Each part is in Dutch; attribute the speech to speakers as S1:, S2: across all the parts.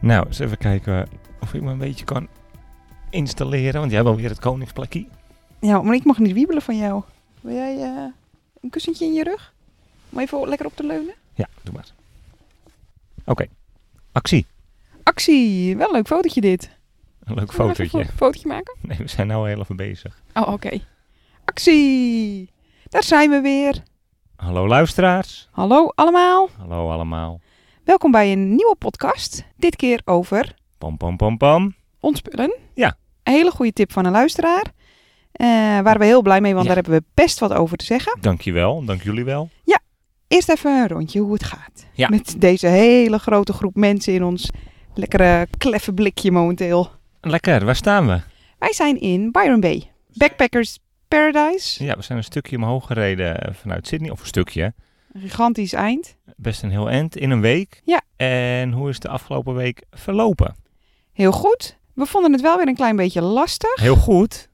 S1: Nou, eens even kijken of ik me een beetje kan installeren, want jij hebt alweer het koningsplekje.
S2: Ja, maar ik mag niet wiebelen van jou. Wil jij eh, een kussentje in je rug? Om even lekker op te leunen?
S1: Ja, doe maar. Oké, actie.
S2: Actie! Wel een leuk fotootje dit.
S1: Een leuk
S2: Zullen we even
S1: fotootje.
S2: Een fotootje maken?
S1: Nee, we zijn nou heel even bezig.
S2: Oh, oké. Actie! Daar zijn we weer.
S1: Hallo luisteraars.
S2: Hallo allemaal.
S1: Hallo allemaal.
S2: Welkom bij een nieuwe podcast. Dit keer over
S1: Pam, pam, pam, pam.
S2: ontspullen.
S1: Ja.
S2: Een hele goede tip van een luisteraar. Eh waren we heel blij mee, want
S1: Ja.
S2: daar hebben we best wat over te zeggen.
S1: Dankjewel, dank jullie wel.
S2: Eerst even een rondje hoe het gaat.
S1: Ja.
S2: Met deze hele grote groep mensen in ons lekkere kleffe blikje momenteel.
S1: Lekker, waar staan we?
S2: Wij zijn in Byron Bay. Backpackers Paradise.
S1: Ja, we zijn een stukje omhoog gereden eh, vanuit Sydney. Of een stukje.
S2: Een gigantisch eind.
S1: Best een heel eind in een week.
S2: Ja.
S1: En hoe is de afgelopen week verlopen?
S2: Heel goed. We vonden het wel weer een klein beetje lastig.
S1: Heel goed.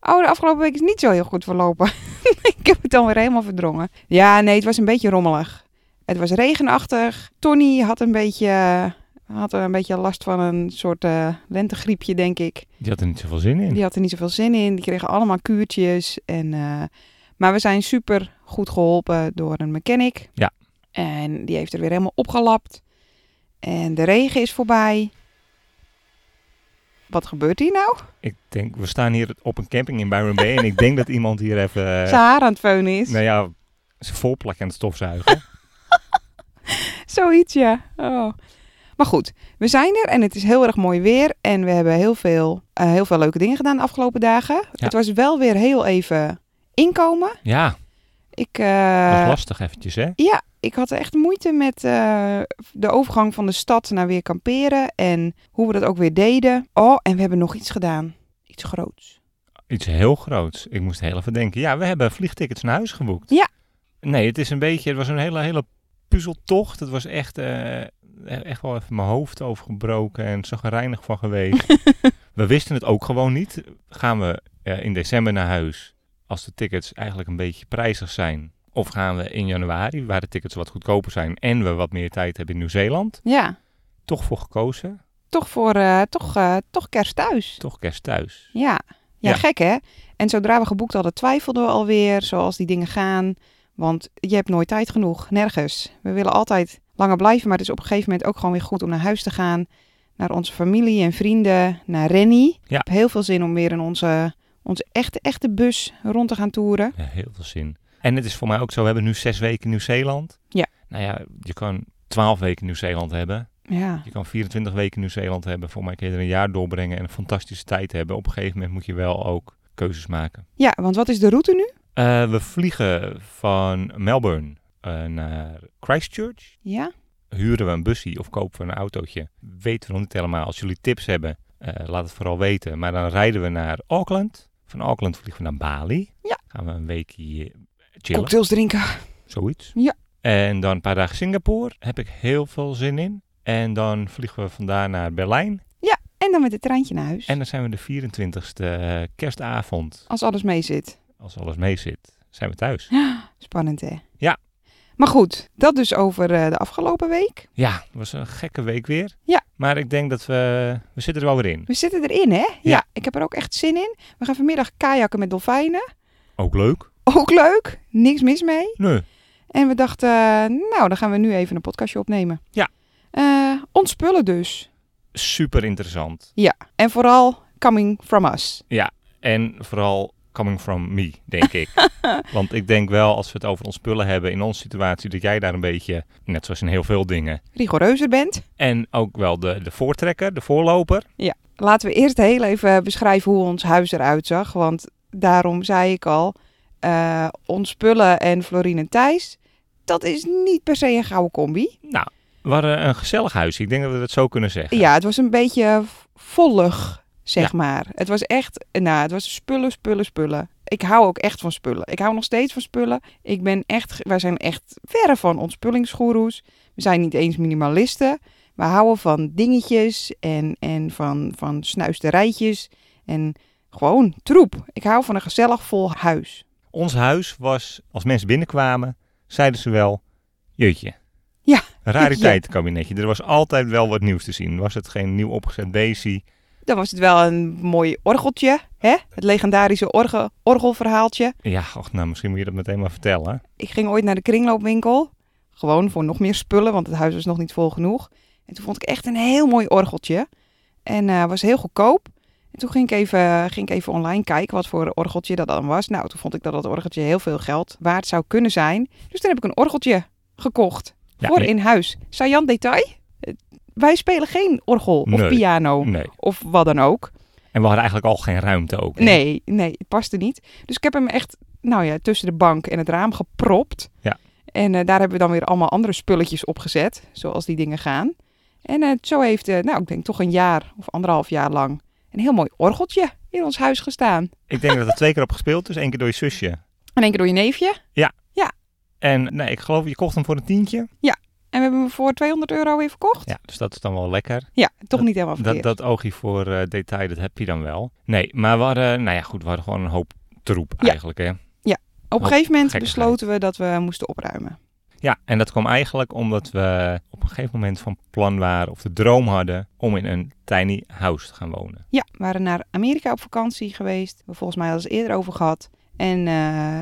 S2: Oh, de afgelopen week is niet zo heel goed verlopen. ik heb het dan weer helemaal verdrongen. Ja, nee, het was een beetje rommelig. Het was regenachtig. Tony had een beetje, had een beetje last van een soort eh, lentegriepje, denk ik.
S1: Die had er niet zoveel zin in.
S2: Die had er niet zoveel zin in. Die kregen allemaal kuurtjes. En, eh, maar we zijn super goed geholpen door een mechanic.
S1: Ja.
S2: En die heeft er weer helemaal opgelapt. En de regen is voorbij. Wat gebeurt hier nou?
S1: Ik denk, we staan hier op een camping in Byron Bay. en ik denk dat iemand hier even... eh,
S2: Zijn haar aan het veunen is.
S1: nou ja, zijn volplak aan het stofzuigen.
S2: Zoiets, ja. Oh. Maar goed, we zijn er en het is heel erg mooi weer. En we hebben heel veel, eh, heel veel leuke dingen gedaan de afgelopen dagen. Het was wel weer heel even inkomen.
S1: ja,
S2: Ik,
S1: dat was
S2: eh,
S1: lastig eventjes, hè?
S2: ja, ik had echt moeite met eh, de overgang van de stad naar weer kamperen. En hoe we dat ook weer deden. Oh, en we hebben nog iets gedaan. Iets groots.
S1: Iets heel groots. Ik moest heel even denken. Ja, we hebben vliegtickets naar huis geboekt.
S2: Ja.
S1: Nee, het is een beetje... Het was een hele, hele puzzeltocht. Het was echt, eh, echt wel even mijn hoofd overgebroken en zag er reinig van geweest. we wisten het ook gewoon niet. Gaan we eh, in december naar huis als de tickets eigenlijk een beetje prijzig zijn? Of gaan we in januari, waar de tickets wat goedkoper zijn en we wat meer tijd hebben in Nieuw-Zeeland?
S2: Ja,
S1: Toch voor gekozen.
S2: toch, voor, eh, toch, eh, toch kerst thuis.
S1: Toch kerst thuis.
S2: Ja. ja,
S1: Ja.
S2: gek hè? En zodra we geboekt hadden, twijfelden we alweer zoals die dingen gaan. Want je hebt nooit tijd genoeg, nergens. We willen altijd langer blijven, maar het is op een gegeven moment ook gewoon weer goed om naar huis te gaan. Naar onze familie en vrienden, naar Rennie. Ik heb heel veel zin om weer in onze, onze echte, echte bus rond te gaan toeren.
S1: Ja, heel veel zin. En het is voor mij ook zo, we hebben nu zes weken Nieuw-Zeeland.
S2: Ja.
S1: Nou ja, je kan twaalf weken Nieuw-Zeeland hebben.
S2: Ja,
S1: Je kan 24 weken Nieuw-Zeeland hebben. Voor mij kun je er een jaar doorbrengen en een fantastische tijd hebben. Op een gegeven moment moet je wel ook keuzes maken.
S2: ja want wat is de route nu?
S1: Eh, we vliegen van Melbourne eh, naar Christchurch.
S2: Ja,
S1: Huren we een busje of kopen we een autootje? Weten we nog niet helemaal. Als jullie tips hebben, eh, laat het vooral weten. Maar dan rijden we naar Auckland. Van Auckland vliegen we naar Bali.
S2: Ja.
S1: Gaan we een weekje eh, chillen.
S2: cocktails drinken.
S1: Zoiets.
S2: Ja.
S1: En dan een paar dagen Singapore. Heb ik heel veel zin in. En dan vliegen we vandaar naar Berlijn.
S2: En dan met het treintje naar huis.
S1: En dan zijn we de 24e eh, kerstavond,
S2: Als alles mee zit.
S1: als alles mee zit, zijn we thuis.
S2: Spannend hè?
S1: Ja.
S2: Maar goed, dat dus over eh, de afgelopen week.
S1: Ja, het was een gekke week weer.
S2: Ja.
S1: Maar ik denk dat we... We zitten er wel weer in.
S2: We zitten erin, hè? Ja. ik heb er ook echt zin in. We gaan vanmiddag kajakken met dolfijnen.
S1: Ook leuk?
S2: Ook leuk. Niks mis mee.
S1: Nee.
S2: En we dachten, eh, nou, dan gaan we nu even een podcastje opnemen.
S1: Ja.
S2: Eh, ontspullen dus.
S1: Super interessant.
S2: En vooral coming from us.
S1: En vooral coming from me, denk ik. Want ik denk wel, als we het over ons spullen hebben in onze situatie, dat jij daar een beetje, net zoals in heel veel dingen,
S2: Rigoureuzer bent.
S1: en ook wel de, de voortrekker, de voorloper.
S2: Laten we eerst heel even beschrijven hoe ons huis eruit zag. Want daarom zei ik al, eh ons spullen en Florien en Thijs. Dat is niet per se een gouden combi.
S1: Nou, we hadden een gezellig huis. Ik denk dat we dat zo kunnen zeggen.
S2: Ja, het was een beetje vollig, zeg maar. Het was echt, nou, het was spullen, spullen, spullen. Ik hou ook echt van spullen. Ik hou nog steeds van spullen. Ik ben echt, wij zijn echt verre van ontspullingsgoeroes. We zijn niet eens minimalisten. We houden van dingetjes en, en van, van snuisterijtjes en gewoon troep. Ik hou van een gezellig vol huis.
S1: Ons huis was, als mensen binnenkwamen, zeiden ze wel, jeetje.
S2: Ja,
S1: Een Rariteitenkabinetje. Er was altijd wel wat nieuws te zien. Was het geen nieuw opgezet beestje?
S2: Dan was het wel een mooi orgeltje, hè? Het legendarische orgel, orgelverhaaltje.
S1: Ja, och, nou, misschien moet je dat meteen maar vertellen.
S2: Ik ging ooit naar de kringloopwinkel. Gewoon voor nog meer spullen, want het huis was nog niet vol genoeg. En toen vond ik echt een heel mooi orgeltje. En eh, was heel goedkoop. En toen ging ik, even, ging ik even online kijken wat voor orgeltje dat dan was. Nou, toen vond ik dat dat orgeltje heel veel geld waard zou kunnen zijn. Dus toen heb ik een orgeltje gekocht.
S1: Ja,
S2: voor
S1: nee.
S2: in huis. Saillant detail. eh, Wij spelen geen orgel of
S1: Nee. Mm.
S2: piano
S1: Nee.
S2: of wat dan ook.
S1: En we hadden eigenlijk al geen ruimte ook. hè?
S2: Nee, nee, het paste niet. Dus ik heb hem echt, nou ja, tussen de bank en het raam gepropt.
S1: Ja.
S2: En eh, daar hebben we dan weer allemaal andere spulletjes op gezet, zoals die dingen gaan. En eh, zo heeft, eh, nou, ik denk toch een jaar of anderhalf jaar lang een heel mooi orgeltje in ons huis gestaan.
S1: Ik denk dat er twee keer op gespeeld is. één keer door je zusje.
S2: En één keer door je neefje.
S1: En nee, ik geloof, je kocht hem voor een tientje.
S2: En we hebben hem voor 200 euro weer verkocht. Ja,
S1: Ja, dus dat is dan wel lekker.
S2: toch niet helemaal
S1: Dat,
S2: verkeerd.
S1: dat oogje voor eh, detail, dat heb je dan wel. Nee, maar we hadden, nou ja, goed, we hadden gewoon een hoop troep
S2: Ja.
S1: eigenlijk, hè.
S2: Op een gegeven moment
S1: gekkigheid.
S2: besloten we dat we moesten opruimen.
S1: Ja, en dat kwam eigenlijk omdat we op een gegeven moment van plan waren of de droom hadden om in een tiny house te gaan wonen.
S2: Ja, we waren naar Amerika op vakantie geweest. We hebben volgens mij al eens eerder over gehad. En eh,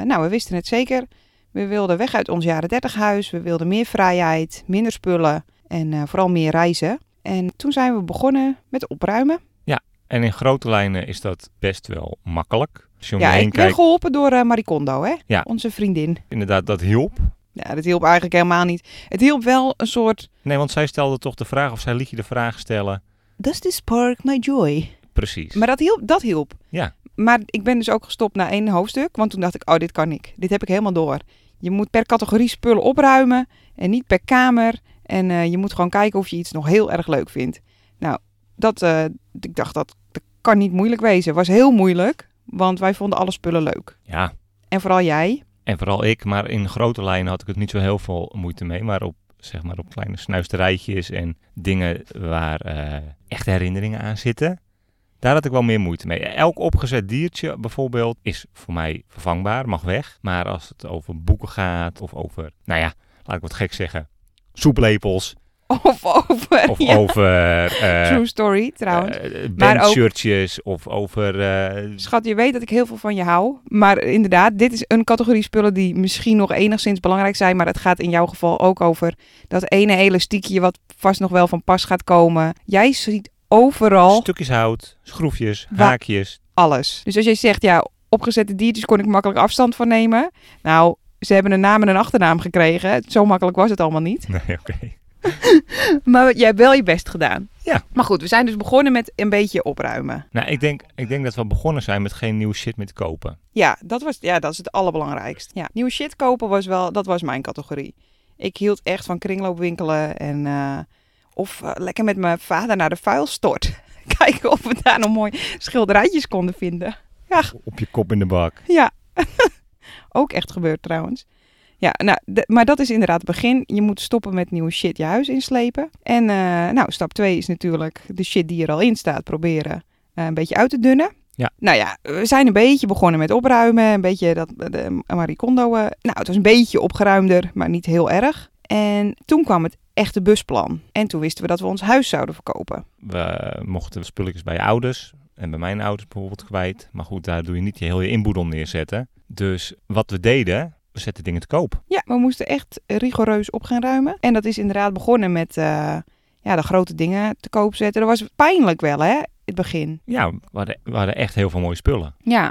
S2: nou, we wisten het zeker. We wilden weg uit ons jaren 30 huis. We wilden meer vrijheid, minder spullen en eh, vooral meer reizen. En toen zijn we begonnen met opruimen.
S1: En in grote lijnen is dat best wel makkelijk. Als je om
S2: Ja,
S1: je heen
S2: ik ben
S1: kijkt,
S2: geholpen door eh Maricondo, hè?
S1: Ja.
S2: onze vriendin.
S1: inderdaad, dat hielp.
S2: Ja, dat hielp eigenlijk helemaal niet. Het hielp wel een soort...
S1: Nee, want zij stelde toch de vraag, of zij liet je de vraag stellen.
S2: Does this spark my joy?
S1: Precies.
S2: Maar dat hielp, dat hielp.
S1: Ja.
S2: Maar ik ben dus ook gestopt na één hoofdstuk, want toen dacht ik, oh, dit kan ik. Dit heb ik helemaal door. Je moet per categorie spullen opruimen en niet per kamer. En eh, je moet gewoon kijken of je iets nog heel erg leuk vindt. Nou, dat, eh, ik dacht, dat, dat kan niet moeilijk wezen. Was heel moeilijk, want wij vonden alle spullen leuk.
S1: Ja,
S2: En vooral jij.
S1: en vooral ik, maar in grote lijnen had ik het niet zo heel veel moeite mee. Maar op, zeg maar, op kleine snuisterijtjes en dingen waar eh, echt herinneringen aan zitten. Daar had ik wel meer moeite mee. Elk opgezet diertje bijvoorbeeld is voor mij vervangbaar, mag weg. Maar als het over boeken gaat of over, nou ja, laat ik wat gek zeggen, soeplepels.
S2: Of over.
S1: Of
S2: ja.
S1: over eh
S2: True story, trouwens.
S1: eh,
S2: Maar ook-
S1: bandshirtjes of over... eh,
S2: Schat, je weet dat ik heel veel van je hou. Maar inderdaad, dit is een categorie spullen die misschien nog enigszins belangrijk zijn. Maar het gaat in jouw geval ook over dat ene elastiekje wat vast nog wel van pas gaat komen. Jij ziet overal
S1: Stukjes hout, schroefjes,
S2: Wa-
S1: haakjes,
S2: alles. Dus als jij zegt, ja, opgezette diertjes kon ik makkelijk afstand van nemen. Nou, ze hebben een naam en een achternaam gekregen. Zo makkelijk was het allemaal niet.
S1: Nee, oké.
S2: Maar jij hebt wel je best gedaan.
S1: Ja.
S2: Maar goed, we zijn dus begonnen met een beetje opruimen.
S1: Nou, ik denk, ik denk dat we begonnen zijn met geen nieuwe shit meer te kopen.
S2: Ja, dat was ja, dat is het allerbelangrijkst. Ja, nieuwe shit kopen was wel, dat was mijn categorie. Ik hield echt van kringloopwinkelen en eh, of eh, lekker met mijn vader naar de vuilstort. Kijken of we daar nog mooi schilderijtjes konden vinden.
S1: Op je kop in de bak.
S2: Ja, ook echt gebeurd trouwens. Ja, nou, d- maar dat is inderdaad het begin. Je moet stoppen met nieuwe shit je huis inslepen. En eh, nou, stap 2 is natuurlijk de shit die er al in staat proberen eh, een beetje uit te dunnen.
S1: Ja.
S2: Nou ja, we zijn een beetje begonnen met opruimen. Een beetje dat de Marie Kondo. eh, nou, het was een beetje opgeruimder, maar niet heel erg. En toen kwam het echte busplan. En toen wisten we dat we ons huis zouden verkopen.
S1: We mochten spulletjes bij je ouders en bij mijn ouders bijvoorbeeld kwijt. Maar goed, daar doe je niet je hele inboedel neerzetten. Dus wat we deden, we zetten dingen te koop.
S2: Ja, we moesten echt rigoureus op gaan ruimen. En dat is inderdaad begonnen met eh, ja, de grote dingen te koop zetten. Dat was pijnlijk wel, hè, het begin.
S1: Ja, we hadden, we hadden echt heel veel mooie spullen.
S2: Ja.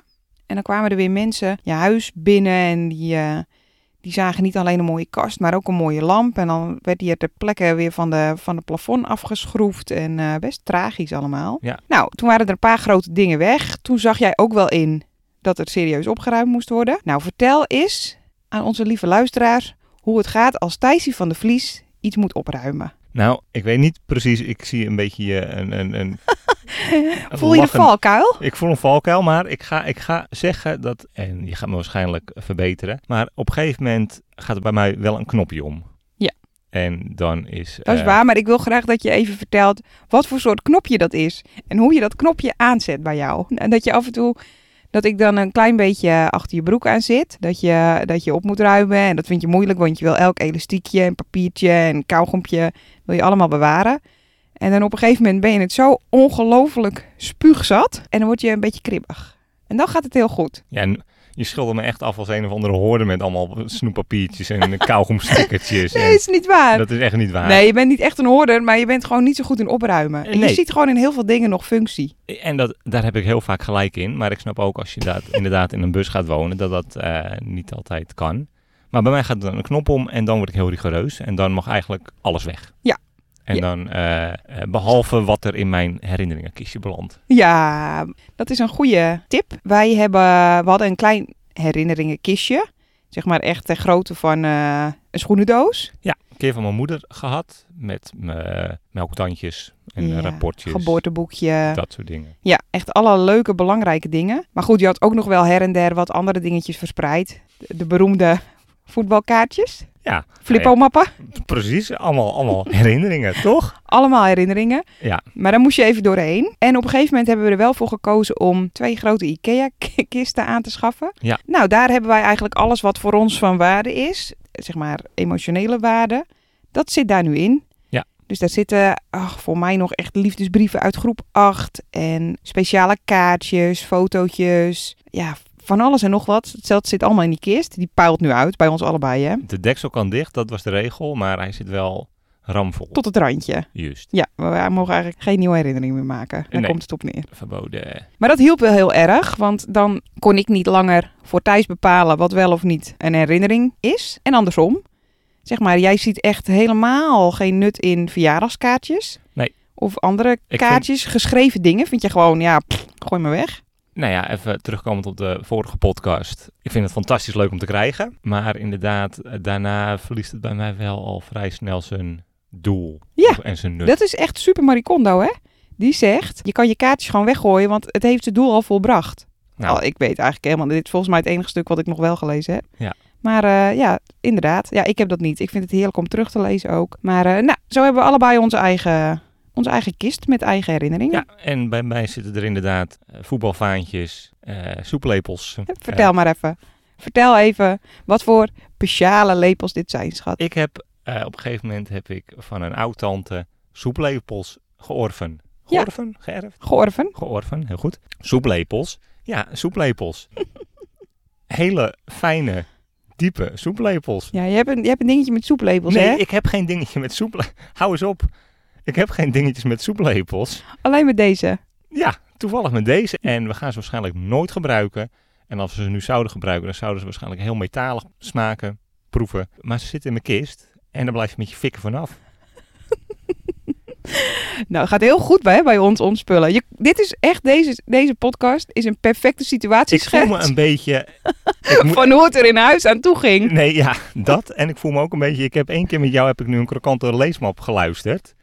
S2: En dan kwamen er weer mensen je huis binnen en die, eh, die zagen niet alleen een mooie kast, maar ook een mooie lamp. En dan werd die ter plekke weer van de, van het plafond afgeschroefd en eh, best tragisch allemaal.
S1: Ja.
S2: Nou, toen waren er een paar grote dingen weg. Toen zag jij ook wel in dat er serieus opgeruimd moest worden. Nou, vertel eens aan onze lieve luisteraars hoe het gaat als Thijsie van de Vlies iets moet opruimen.
S1: Nou, ik weet niet precies. Ik zie een beetje eh, een... een, een een
S2: Voel je de
S1: lachend-
S2: valkuil?
S1: Ik voel een valkuil, maar ik ga, ik ga zeggen dat... En je gaat me waarschijnlijk verbeteren. Maar op een gegeven moment gaat er bij mij wel een knopje om.
S2: Ja.
S1: En dan is...
S2: Dat is
S1: eh,
S2: waar, maar ik wil graag dat je even vertelt wat voor soort knopje dat is. En hoe je dat knopje aanzet bij jou. En dat je af en toe, dat ik dan een klein beetje achter je broek aan zit. Dat je, dat je op moet ruimen en dat vind je moeilijk, want je wil elk elastiekje en papiertje en kauwgompje, wil je allemaal bewaren. En dan op een gegeven moment ben je het zo ongelooflijk spuugzat en dan word je een beetje kribbig. En dan gaat het heel goed.
S1: Ja, en je schildert me echt af als een of andere hoorde met allemaal snoeppapiertjes en kauwgomstickertjes.
S2: Nee, is niet waar.
S1: en dat is echt niet waar.
S2: Nee, je bent niet echt een hoorder, maar je bent gewoon niet zo goed in opruimen. En je
S1: Nee.
S2: ziet gewoon in heel veel dingen nog functie.
S1: En dat, daar heb ik heel vaak gelijk in. Maar ik snap ook als je dat, inderdaad in een bus gaat wonen, dat dat eh, niet altijd kan. Maar bij mij gaat dan een knop om en dan word ik heel rigoureus. En dan mag eigenlijk alles weg.
S2: Ja.
S1: En
S2: Ja.
S1: dan, eh, eh, behalve wat er in mijn herinneringenkistje belandt.
S2: Ja, dat is een goede tip. Wij hebben, we hadden een klein herinneringenkistje. Zeg maar echt de grootte van eh, een schoenendoos.
S1: Een keer van mijn moeder gehad, met mijn melktandjes en
S2: Ja,
S1: rapportjes.
S2: Geboorteboekje.
S1: Dat soort dingen.
S2: Ja, echt alle leuke, belangrijke dingen. Maar goed, je had ook nog wel her en der wat andere dingetjes verspreid. De, de beroemde voetbalkaartjes.
S1: Ja,
S2: Flippomappen.
S1: precies. Allemaal, allemaal herinneringen, toch?
S2: Allemaal herinneringen.
S1: Ja.
S2: Maar daar moest je even doorheen. En op een gegeven moment hebben we er wel voor gekozen om twee grote IKEA-kisten aan te schaffen.
S1: Ja.
S2: Nou, daar hebben wij eigenlijk alles wat voor ons van waarde is, zeg maar emotionele waarde, dat zit daar nu in.
S1: Ja.
S2: Dus daar zitten ach, voor mij nog echt liefdesbrieven uit groep 8 en speciale kaartjes, fotootjes, ja, van alles en nog wat. Dat zit allemaal in die kist. Die puilt nu uit bij ons allebei, hè?
S1: De deksel kan dicht, dat was de regel. Maar hij zit wel ramvol.
S2: Tot het randje.
S1: Juist.
S2: Ja, maar we mogen eigenlijk geen nieuwe herinnering meer maken. Daar
S1: Nee.
S2: komt het op neer.
S1: Verboden.
S2: Maar dat hielp wel heel erg, want dan kon ik niet langer voor Thijs bepalen wat wel of niet een herinnering is. En andersom. Zeg maar, jij ziet echt helemaal geen nut in verjaardagskaartjes.
S1: Nee.
S2: Of andere
S1: vind-
S2: kaartjes, geschreven dingen. Vind je gewoon, ja, pff, gooi me weg.
S1: Nou ja, even terugkomend op de vorige podcast. Ik vind het fantastisch leuk om te krijgen. Maar inderdaad, eh, daarna verliest het bij mij wel al vrij snel zijn doel.
S2: Ja,
S1: En zijn nut.
S2: Dat is echt super Maricondo, hè? Die zegt, je kan je kaartjes gewoon weggooien, want het heeft het doel al volbracht.
S1: Nou.
S2: Nou, ik weet eigenlijk helemaal, dit is volgens mij het enige stuk wat ik nog wel gelezen heb.
S1: Ja.
S2: Maar eh, ja, inderdaad. Ja, ik heb dat niet. Ik vind het heerlijk om terug te lezen ook. Maar eh, nou, zo hebben we allebei onze eigen, onze eigen kist met eigen herinneringen.
S1: Ja, en bij mij zitten er inderdaad eh, voetbalvaantjes, eh, soeplepels.
S2: Vertel maar even. Vertel even wat voor speciale lepels dit zijn, schat.
S1: Ik heb, eh, op een gegeven moment heb ik van een oud-tante soeplepels georven.
S2: Ja.
S1: Georven? Geërfd?
S2: Georven.
S1: Georven, heel goed. Soeplepels. Ja, soeplepels. Hele fijne, diepe soeplepels.
S2: Ja, je hebt een, je hebt een dingetje met soeplepels,
S1: nee,
S2: hè?
S1: ik heb geen dingetje met soeplepels. Hou eens op. Ik heb geen dingetjes met soeplepels.
S2: Alleen met deze.
S1: Ja, toevallig met deze. En we gaan ze waarschijnlijk nooit gebruiken. En als we ze nu zouden gebruiken, dan zouden ze waarschijnlijk heel metalig smaken, proeven. Maar ze zitten in mijn kist. En daar blijf je met je fikken vanaf.
S2: Nou, het gaat heel goed bij, bij ons omspullen. Je, dit is echt, deze, deze podcast is een perfecte
S1: Ik voel
S2: situatieschets
S1: me een beetje... Ik moet-
S2: van hoe het er in huis aan toe ging.
S1: Nee, ja, dat. En ik voel me ook een beetje... Ik heb één keer met jou heb ik nu een krokante leesmap geluisterd.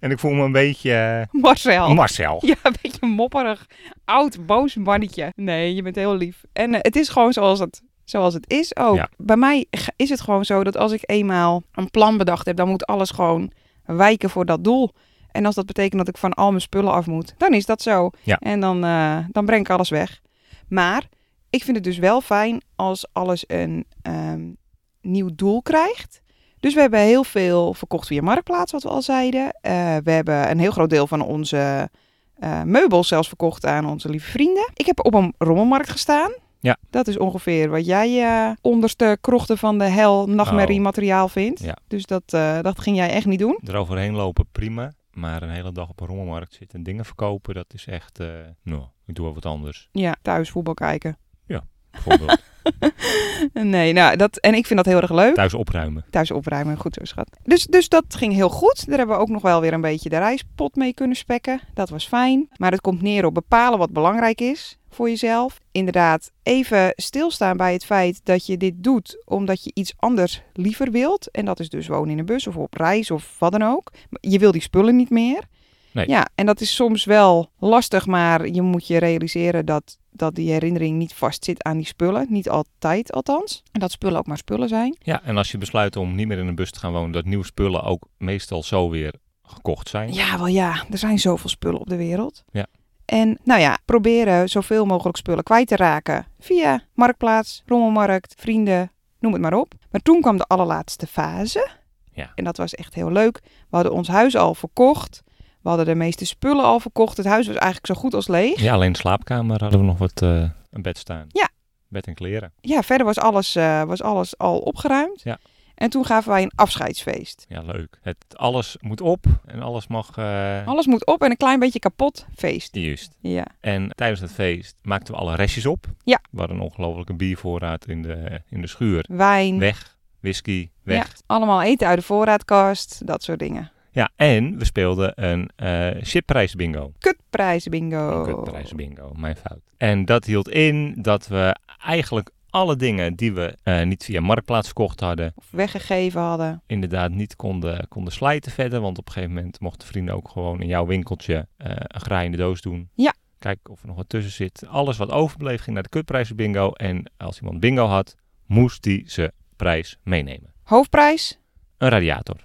S1: En ik voel me een beetje... eh,
S2: Marcel.
S1: Marcel.
S2: ja, een beetje een mopperig, oud, boos mannetje. Nee, je bent heel lief. En eh, het is gewoon zoals het, zoals het is ook.
S1: Ja.
S2: Bij mij g- is het gewoon zo dat als ik eenmaal een plan bedacht heb, dan moet alles gewoon wijken voor dat doel. En als dat betekent dat ik van al mijn spullen af moet, dan is dat zo.
S1: Ja.
S2: En dan, eh, dan breng ik alles weg. Maar ik vind het dus wel fijn als alles een ehm, nieuw doel krijgt. Dus we hebben heel veel verkocht via Marktplaats, wat we al zeiden. Eh, we hebben een heel groot deel van onze eh, meubels zelfs verkocht aan onze lieve vrienden. Ik heb op een rommelmarkt gestaan.
S1: Ja.
S2: Dat is ongeveer wat jij eh, onderste krochten van de hel nachtmerrie
S1: Oh.
S2: materiaal vindt.
S1: Ja.
S2: Dus dat, eh, dat ging jij echt niet doen.
S1: Eroverheen lopen, prima. Maar een hele dag op een rommelmarkt zitten en dingen verkopen, dat is echt... eh, nou, ik doe wel wat anders,
S2: Ja, thuis voetbal kijken.
S1: bijvoorbeeld.
S2: nee, nou, dat, en ik vind dat heel erg leuk.
S1: Thuis opruimen.
S2: Thuis opruimen, goed zo schat. Dus, dus dat ging heel goed. Daar hebben we ook nog wel weer een beetje de reispot mee kunnen spekken. Dat was fijn. Maar het komt neer op bepalen wat belangrijk is voor jezelf. Inderdaad, even stilstaan bij het feit dat je dit doet omdat je iets anders liever wilt. En dat is dus wonen in een bus of op reis of wat dan ook. Je wil die spullen niet meer.
S1: Nee.
S2: Ja, en dat is soms wel lastig, maar je moet je realiseren dat, dat die herinnering niet vastzit aan die spullen. Niet altijd althans. En dat spullen ook maar spullen zijn.
S1: Ja, en als je besluit om niet meer in een bus te gaan wonen, dat nieuwe spullen ook meestal zo weer gekocht zijn.
S2: Ja, wel ja. Er zijn zoveel spullen op de wereld.
S1: Ja.
S2: En nou ja, proberen zoveel mogelijk spullen kwijt te raken via marktplaats, rommelmarkt, vrienden, noem het maar op. Maar toen kwam de allerlaatste fase.
S1: Ja.
S2: En dat was echt heel leuk. We hadden ons huis al verkocht. We hadden de meeste spullen al verkocht. Het huis was eigenlijk zo goed als leeg.
S1: Ja, alleen de slaapkamer hadden we nog wat eh, een bed staan.
S2: Ja.
S1: Bed en kleren.
S2: Ja, verder was alles, eh, was alles al opgeruimd.
S1: Ja.
S2: En toen gaven wij een afscheidsfeest.
S1: Ja, leuk. Het, alles moet op en alles mag... eh
S2: Alles moet op en een klein beetje kapot feest.
S1: Juist.
S2: Ja.
S1: En tijdens het feest maakten we alle restjes op.
S2: Ja.
S1: We hadden een ongelofelijke biervoorraad in de, in de schuur.
S2: Wijn.
S1: Weg. Whisky. Weg.
S2: Ja. Allemaal eten uit de voorraadkast. Dat soort dingen.
S1: Ja, en we speelden een eh chipprijs bingo.
S2: Kutprijzen bingo.
S1: Kutprijs bingo, mijn fout. En dat hield in dat we eigenlijk alle dingen die we eh, niet via Marktplaats verkocht hadden,
S2: Of weggegeven hadden.
S1: inderdaad niet konden, konden slijten verder. Want op een gegeven moment mochten vrienden ook gewoon in jouw winkeltje eh een graaiende doos doen.
S2: Ja.
S1: Kijken of er nog wat tussen zit. Alles wat overbleef ging naar de kutprijs bingo. En als iemand bingo had, moest die zijn prijs meenemen.
S2: Hoofdprijs,
S1: Een radiator.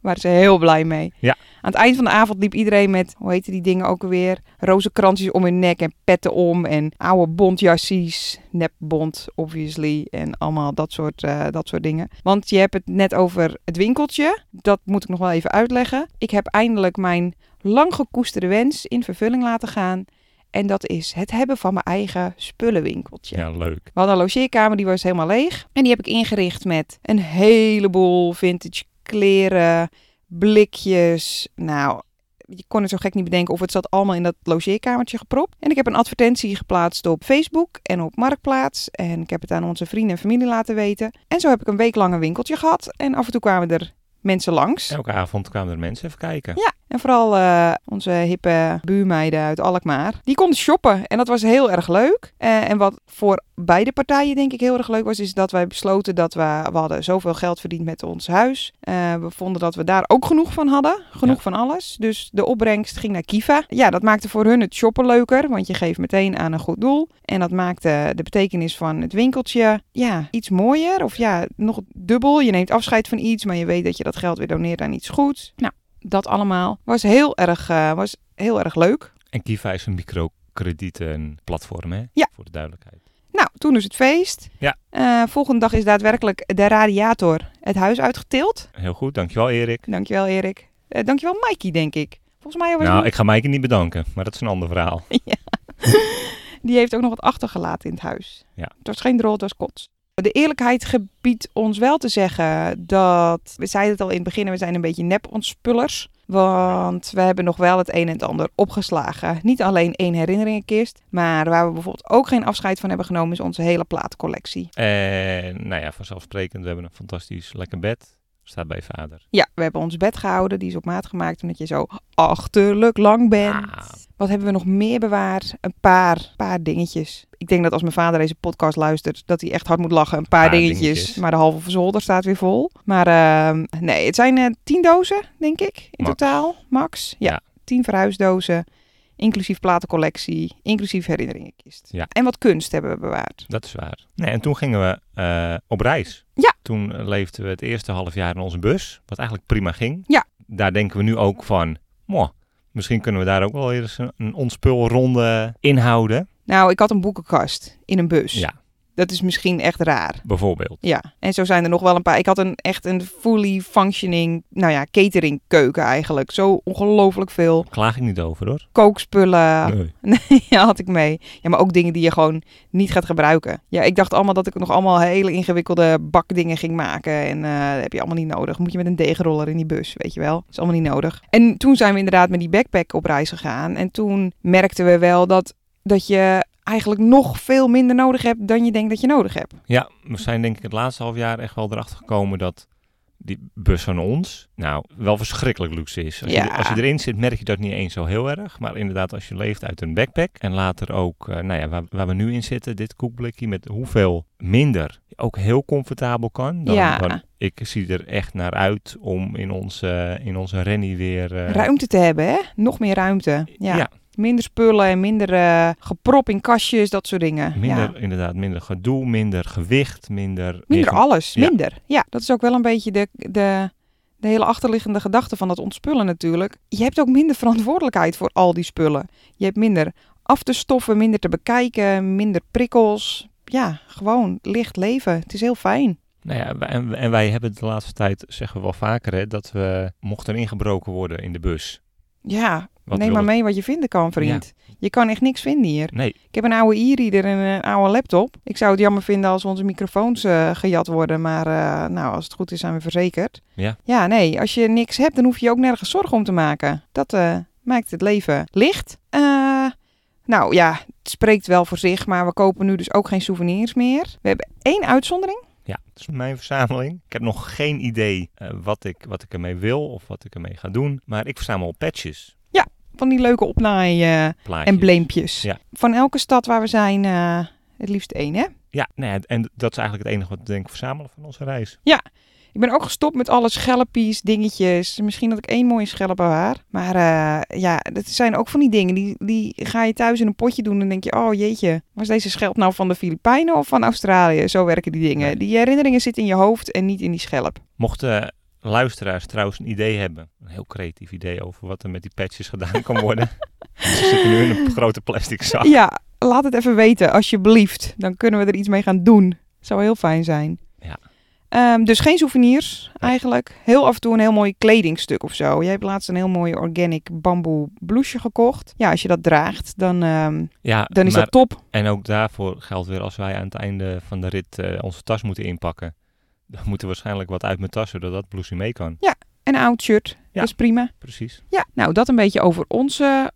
S2: waren ze heel blij mee.
S1: Ja.
S2: Aan het eind van de avond liep iedereen met, hoe heette die dingen ook alweer? Rozenkransjes om hun nek en petten om. En oude bondjassies, nepbond obviously. En allemaal dat soort, eh, dat soort dingen. Want je hebt het net over het winkeltje. Dat moet ik nog wel even uitleggen. Ik heb eindelijk mijn lang gekoesterde wens in vervulling laten gaan. En dat is het hebben van mijn eigen spullenwinkeltje.
S1: Ja, leuk.
S2: We hadden een logeerkamer, die was helemaal leeg. En die heb ik ingericht met een heleboel vintage kleren, blikjes. Nou, je kon het zo gek niet bedenken of het zat allemaal in dat logeerkamertje gepropt. En ik heb een advertentie geplaatst op Facebook en op Marktplaats. En ik heb het aan onze vrienden en familie laten weten. En zo heb ik een week lang een winkeltje gehad. En af en toe kwamen er mensen langs.
S1: Elke avond kwamen er mensen even kijken.
S2: Ja, en vooral eh, onze hippe buurmeiden uit Alkmaar. Die konden shoppen en dat was heel erg leuk. Eh, en wat voor beide partijen denk ik heel erg leuk was, is dat wij besloten dat we, we hadden zoveel geld verdiend met ons huis. Eh, we vonden dat we daar ook genoeg van hadden. Genoeg
S1: Ja.
S2: van alles. Dus de opbrengst ging naar Kiva. Ja, dat maakte voor hun het shoppen leuker, want je geeft meteen aan een goed doel. En dat maakte de betekenis van het winkeltje ja, iets mooier. Of ja, nog dubbel. Je neemt afscheid van iets, maar je weet dat je dat geld weer doneert aan iets goeds. Nou, dat allemaal was heel erg, eh, was heel erg leuk.
S1: En Kiva is een microkredietenplatform, hè?
S2: Ja.
S1: Voor de duidelijkheid.
S2: Nou, toen is het feest.
S1: Ja.
S2: Eh, volgende dag is daadwerkelijk de radiator het huis uitgetild.
S1: Heel goed, dankjewel Erik.
S2: Dankjewel, Erik. Eh, dankjewel, Mikey, denk ik. Volgens mij was
S1: Nou, ik ga Maaike niet bedanken, maar dat is een ander verhaal.
S2: Die heeft ook nog wat achtergelaten in het huis.
S1: Ja.
S2: Het was geen drol, het was kots. De eerlijkheid gebiedt ons wel te zeggen dat... We zeiden het al in het begin, we zijn een beetje nep-ontspullers. Want we hebben nog wel het een en het ander opgeslagen. Niet alleen één herinneringenkist, maar waar we bijvoorbeeld ook geen afscheid van hebben genomen... is onze hele plaatcollectie.
S1: En nou ja, vanzelfsprekend, we hebben een fantastisch lekker bed. Staat bij vader.
S2: Ja, we hebben ons bed gehouden. Die is op maat gemaakt omdat je zo achterlijk lang bent.
S1: Ah.
S2: Wat hebben we nog meer bewaard? Een paar, paar dingetjes. Ik denk dat als mijn vader deze podcast luistert, dat hij echt hard moet lachen. Een paar,
S1: Paar
S2: dingetjes.
S1: dingetjes.
S2: Maar de halve zolder staat weer vol. Maar ehm, nee, het zijn eh, tien dozen, denk ik, in
S1: Max.
S2: totaal. Max. Ja,
S1: Ja.
S2: tien verhuisdozen. Inclusief platencollectie, inclusief herinneringenkist.
S1: Ja.
S2: En wat kunst hebben we bewaard.
S1: Dat is waar. Nee, en toen gingen we eh, op reis.
S2: Ja.
S1: Toen eh, leefden we het eerste half jaar in onze bus, wat eigenlijk prima ging.
S2: Ja.
S1: Daar denken we nu ook van, moh, misschien kunnen we daar ook wel eens een, een ontspulronde inhouden.
S2: Nou, ik had een boekenkast in een bus.
S1: Ja,
S2: Dat is misschien echt raar.
S1: bijvoorbeeld.
S2: Ja, en zo zijn er nog wel een paar. Ik had een echt een fully functioning, nou ja, catering keuken eigenlijk. Zo ongelooflijk veel
S1: Klaag ik niet over hoor.
S2: kookspullen
S1: Nee.
S2: ja, had ik mee. Ja, maar ook dingen die je gewoon niet gaat gebruiken. Ja, ik dacht allemaal dat ik nog allemaal hele ingewikkelde bakdingen ging maken. En eh, dat heb je allemaal niet nodig. Moet je met een deegroller in die bus, weet je wel. Dat is allemaal niet nodig. En toen zijn we inderdaad met die backpack op reis gegaan. En toen merkten we wel dat, dat je eigenlijk nog veel minder nodig hebt dan je denkt dat je nodig hebt.
S1: Ja, we zijn denk ik het laatste half jaar echt wel erachter gekomen dat die bus van ons nou wel verschrikkelijk luxe is. Als, je,
S2: Ja.
S1: als je erin zit merk je dat niet eens zo heel erg. Maar inderdaad als je leeft uit een backpack en later ook, eh, nou ja, waar, waar we nu in zitten, dit koekblikje met hoeveel minder je ook heel comfortabel kan. Dan,
S2: Ja.
S1: dan- ik zie er echt naar uit om in onze, eh, in onze rennie weer... eh,
S2: Ruimte te hebben, hè? Nog meer ruimte. Ja.
S1: Ja.
S2: Minder spullen en minder eh, geprop in kastjes, dat soort dingen.
S1: Minder,
S2: ja.
S1: inderdaad, minder gedoe, minder gewicht, minder...
S2: Minder
S1: meer-
S2: alles,
S1: Ja.
S2: minder. Ja, dat is ook wel een beetje de, de, de hele achterliggende gedachte van dat ontspullen natuurlijk. Je hebt ook minder verantwoordelijkheid voor al die spullen. Je hebt minder af te stoffen, minder te bekijken, minder prikkels. Ja, gewoon licht leven. Het is heel fijn.
S1: Nou ja, wij- en, en wij hebben de laatste tijd, zeggen we wel vaker, hè, dat we mochten ingebroken worden in de bus.
S2: Ja,
S1: Wat
S2: neem
S1: wil
S2: maar
S1: het-
S2: mee wat je vinden kan, vriend. Je kan echt niks vinden hier.
S1: Nee,
S2: Ik heb een oude e-reader en een oude laptop. Ik zou het jammer vinden als onze microfoons eh, gejat worden. Maar eh, nou, als het goed is, zijn we verzekerd.
S1: Ja.
S2: Ja, nee. Als je niks hebt, dan hoef je je ook nergens zorgen om te maken. Dat eh, maakt het leven licht. Eh, nou ja, het spreekt wel voor zich. Maar we kopen nu dus ook geen souvenirs meer. We hebben één uitzondering.
S1: ja, het is mijn verzameling. Ik heb nog geen idee eh, wat, ik, wat ik ermee wil of wat ik ermee ga doen. Maar ik verzamel patches,
S2: Van die leuke opnaai- eh,
S1: plaatjes.
S2: en bleempjes.
S1: Ja.
S2: Van elke stad waar we zijn, eh, het liefst één, hè?
S1: Ja, nou ja, en dat is eigenlijk het enige wat ik denk verzamelen van onze reis.
S2: Ik ben ook gestopt met alle schelpies, dingetjes. Misschien dat ik één mooie schelp haar. Maar eh, ja, dat zijn ook van die dingen. Die, die ga je thuis in een potje doen. En denk je, oh jeetje, was deze schelp nou van de Filipijnen of van Australië? Zo werken die dingen. Die herinneringen zitten in je hoofd en niet in die schelp.
S1: Mochten luisteraars trouwens een idee hebben, een heel creatief idee over wat er met die patches gedaan kan worden. Ze zitten nu in een grote plastic zak.
S2: Ja, laat het even weten, alsjeblieft. Dan kunnen we er iets mee gaan doen. Zou heel fijn zijn.
S1: Ja.
S2: Ehm, dus geen souvenirs eigenlijk. Heel af en toe een heel mooi kledingstuk of zo. Jij hebt laatst een heel mooi organic bamboe blouseje gekocht. Ja, als je dat draagt, dan, ehm,
S1: Ja,
S2: dan is
S1: maar-
S2: dat top.
S1: En ook daarvoor geldt weer als wij aan het einde van de rit eh, onze tas moeten inpakken. Dan moet er waarschijnlijk wat uit mijn tas, zodat dat blouseje mee kan.
S2: Een oud shirt,
S1: Ja.
S2: dat is prima.
S1: Precies.
S2: Ja, nou dat een beetje over onze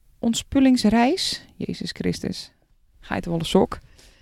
S2: ontspullingsreis. Jezus Christus, geitenwolle sok.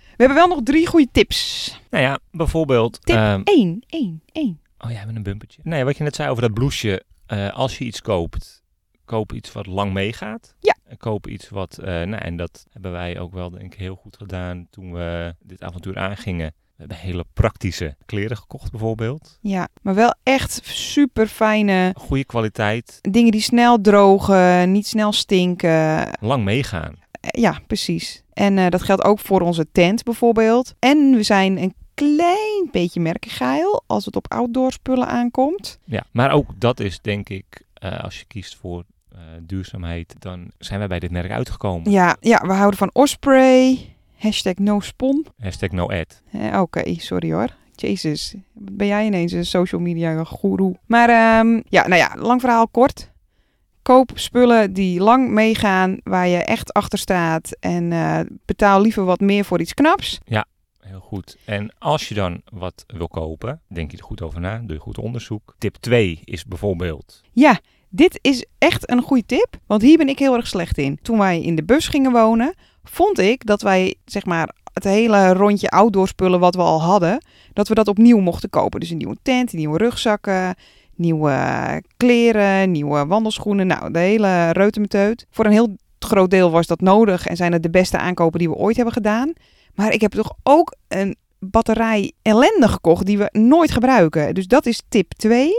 S2: We hebben wel nog drie goede tips.
S1: Nou ja, bijvoorbeeld...
S2: Tip
S1: ehm,
S2: Eén, één, één.
S1: oh ja, met een bumpertje. Nee, wat je net zei over dat blouseje. eh, als je iets koopt, koop iets wat lang meegaat.
S2: Ja.
S1: En Koop iets wat... eh, nou, en dat hebben wij ook wel denk ik heel goed gedaan toen we dit avontuur aangingen. We hebben hele praktische kleren gekocht bijvoorbeeld.
S2: Ja, maar wel echt super fijne
S1: Goede kwaliteit,
S2: dingen die snel drogen, niet snel stinken. Eh,
S1: lang meegaan.
S2: Ja, precies. En eh, dat geldt ook voor onze tent bijvoorbeeld. En we zijn een klein beetje merkengeil als het op outdoor spullen aankomt.
S1: Ja, maar ook dat is denk ik, eh, als je kiest voor eh, duurzaamheid, dan zijn wij bij dit merk uitgekomen.
S2: Ja, ja we houden van Osprey. Hashtag no spon.
S1: Hashtag no ad.
S2: Eh, Oké, sorry hoor. Jezus, ben jij ineens een social media goeroe? Maar ehm, ja, nou ja, lang verhaal kort. Koop spullen die lang meegaan, waar je echt achter staat. En eh, betaal liever wat meer voor iets knaps.
S1: Heel goed. En als je dan wat wil kopen, denk je er goed over na, doe je goed onderzoek. Tip 2 is bijvoorbeeld,
S2: Ja, dit is echt een goede tip, want hier ben ik heel erg slecht in. Toen wij in de bus gingen wonen, vond ik dat wij zeg maar het hele rondje outdoor spullen wat we al hadden, dat we dat opnieuw mochten kopen. Dus een nieuwe tent, nieuwe rugzakken, nieuwe eh, kleren, nieuwe wandelschoenen, nou de hele reutemeteut. Voor een heel groot deel was dat nodig en zijn het de beste aankopen die we ooit hebben gedaan. Maar ik heb toch ook een batterij ellende gekocht die we nooit gebruiken. Dus dat is tip 2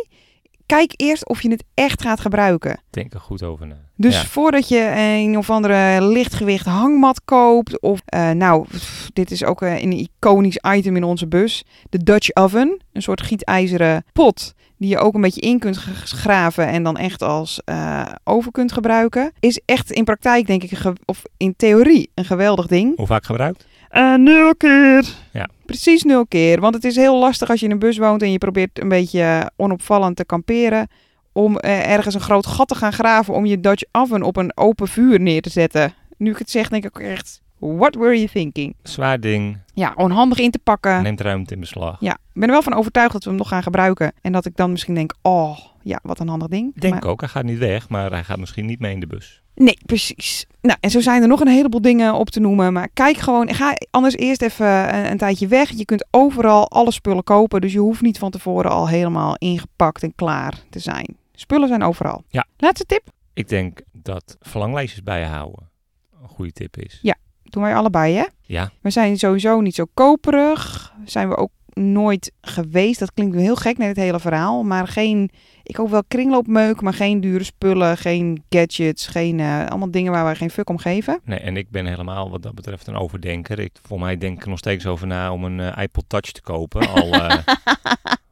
S2: kijk eerst of je het echt gaat gebruiken.
S1: denk er goed over na.
S2: Dus
S1: Ja.
S2: voordat je een of andere lichtgewicht hangmat koopt, of eh, nou, pff, dit is ook eh, een iconisch item in onze bus, de Dutch oven, een soort gietijzeren pot die je ook een beetje in kunt g- graven en dan echt als eh oven kunt gebruiken, is echt in praktijk denk ik, een ge- of in theorie, een geweldig ding.
S1: Hoe vaak gebruikt?
S2: Eh, nul keer.
S1: Ja.
S2: Precies nul keer. Want het is heel lastig als je in een bus woont en je probeert een beetje eh, onopvallend te kamperen. Om eh, ergens een groot gat te gaan graven om je Dutch oven op een open vuur neer te zetten. Nu ik het zeg, denk ik ook echt, what were you thinking?
S1: Zwaar ding,
S2: Ja, onhandig in te pakken.
S1: neemt ruimte in beslag.
S2: Ja, ik ben er wel van overtuigd dat we hem nog gaan gebruiken. En dat ik dan misschien denk, oh, ja, wat een handig ding.
S1: Ik Denk
S2: Maar-
S1: ook, hij gaat niet weg, maar hij gaat misschien niet mee in de bus.
S2: Nee, precies. Nou, en zo zijn er nog een heleboel dingen op te noemen. Maar kijk gewoon, ga anders eerst even eh, een, een tijdje weg. Je kunt overal alle spullen kopen, dus je hoeft niet van tevoren al helemaal ingepakt en klaar te zijn. Spullen zijn overal.
S1: Ja.
S2: Laatste tip.
S1: Ik denk dat verlanglijstjes bijhouden een goede tip is.
S2: Doen wij allebei, hè?
S1: Ja.
S2: We zijn sowieso niet zo koperig. Zijn we ook nooit geweest. Dat klinkt nu heel gek naar het hele verhaal. Maar geen, ik ook wel kringloopmeuk, maar geen dure spullen, geen gadgets, geen, eh, allemaal dingen waar wij geen fuck om geven.
S1: Nee, en ik ben helemaal wat dat betreft een overdenker. Ik, voor mij denk ik er nog steeds over na om een eh, iPod Touch te kopen. Al, eh,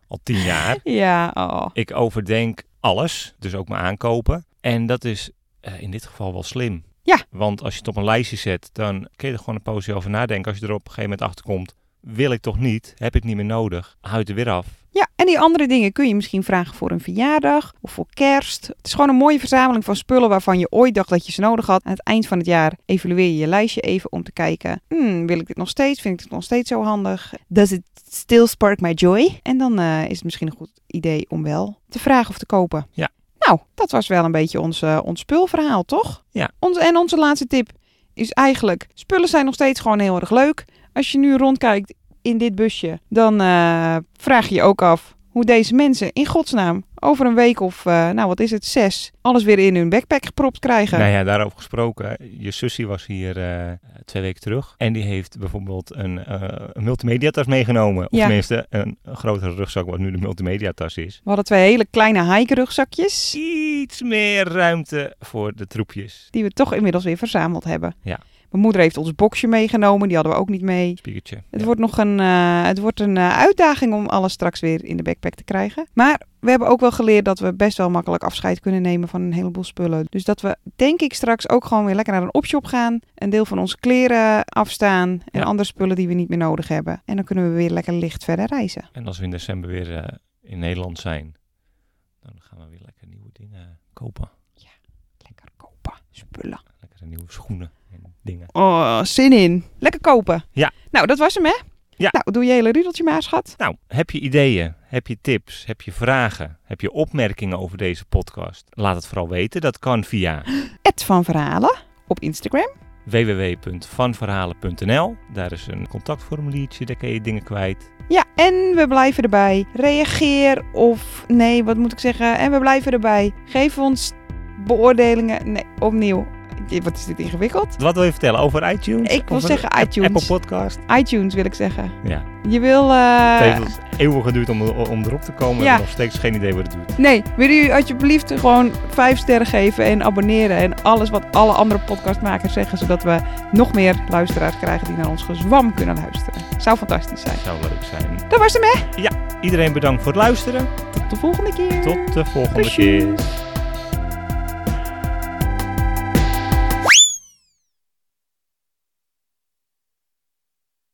S1: al tien jaar.
S2: Ja, oh.
S1: Ik overdenk alles, dus ook mijn aankopen. En dat is eh, in dit geval wel slim.
S2: Ja.
S1: Want als je het op een lijstje zet, dan kun je er gewoon een poosje over nadenken. Als je er op een gegeven moment achter komt, wil ik toch niet, heb ik niet meer nodig, hou het er weer af.
S2: Ja, en die andere dingen kun je misschien vragen voor een verjaardag of voor kerst. Het is gewoon een mooie verzameling van spullen waarvan je ooit dacht dat je ze nodig had. Aan het eind van het jaar evalueer je je lijstje even om te kijken: hmm, wil ik dit nog steeds? Vind ik dit nog steeds zo handig? Does it still spark my joy? En dan eh, is het misschien een goed idee om wel te vragen of te kopen.
S1: Ja.
S2: Nou, dat was wel een beetje ons, eh, ons spulverhaal, toch?
S1: Ja.
S2: Ons, en onze laatste tip is eigenlijk: spullen zijn nog steeds gewoon heel erg leuk. Als je nu rondkijkt in dit busje, dan eh, vraag je je ook af hoe deze mensen in godsnaam over een week of, eh, nou wat is het, zes, alles weer in hun backpack gepropt krijgen.
S1: Nou ja, daarover gesproken. Je sussie was hier eh, twee weken terug. En die heeft bijvoorbeeld een, eh, een multimediatas meegenomen. Of
S2: Ja.
S1: tenminste, een, een grotere rugzak, wat nu de multimediatas is.
S2: We hadden twee hele kleine hike-rugzakjes,
S1: Iets meer ruimte voor de troepjes.
S2: die we toch inmiddels weer verzameld hebben.
S1: Ja.
S2: Mijn moeder heeft ons boxje meegenomen, die hadden we ook niet mee.
S1: Spiegeltje.
S2: Het
S1: Ja.
S2: wordt nog een, eh, het wordt een eh, uitdaging om alles straks weer in de backpack te krijgen. Maar we hebben ook wel geleerd dat we best wel makkelijk afscheid kunnen nemen van een heleboel spullen. Dus dat we denk ik straks ook gewoon weer lekker naar een opshop gaan. Een deel van onze kleren afstaan en
S1: Ja.
S2: andere spullen die we niet meer nodig hebben. En dan kunnen we weer lekker licht verder reizen.
S1: En als we in december weer eh, in Nederland zijn, dan gaan we weer lekker nieuwe dingen kopen.
S2: Lekker kopen, spullen.
S1: Lekkere nieuwe schoenen en dingen.
S2: Oh, zin in. Lekker kopen.
S1: Ja.
S2: Nou, dat was hem hè?
S1: Ja.
S2: Nou, doe je hele rudeltje maar schat.
S1: Nou, heb je ideeën? Heb je tips? Heb je vragen? Heb je opmerkingen over deze podcast? Laat het vooral weten. Dat kan via
S2: Ed van Verhalen op Instagram.
S1: www.vanverhalen.nl. Daar is een contactformuliertje, daar kun je dingen kwijt.
S2: Ja, en we blijven erbij. Reageer of nee, wat moet ik zeggen? En we blijven erbij. Geef ons beoordelingen. Nee, opnieuw. Wat is dit ingewikkeld?
S1: Wat wil je vertellen over iTunes?
S2: Ik wil
S1: Over
S2: zeggen
S1: App-
S2: iTunes.
S1: Apple Podcast.
S2: iTunes wil ik zeggen.
S1: Ja,
S2: Je wil.
S1: het
S2: eh,
S1: heeft ons eeuwen geduurd om, om erop te komen.
S2: Ja.
S1: We hebben nog steeds geen idee wat het duurt.
S2: Nee, wil u alsjeblieft gewoon vijf sterren geven en abonneren. En alles wat alle andere podcastmakers zeggen. Zodat we nog meer luisteraars krijgen die naar ons gezwam kunnen luisteren. Zou fantastisch zijn.
S1: Zou leuk zijn.
S2: Dat was hem, hè?
S1: Iedereen bedankt voor het luisteren.
S2: Tot de volgende keer.
S1: Tot de volgende
S2: Kusjes.
S1: keer.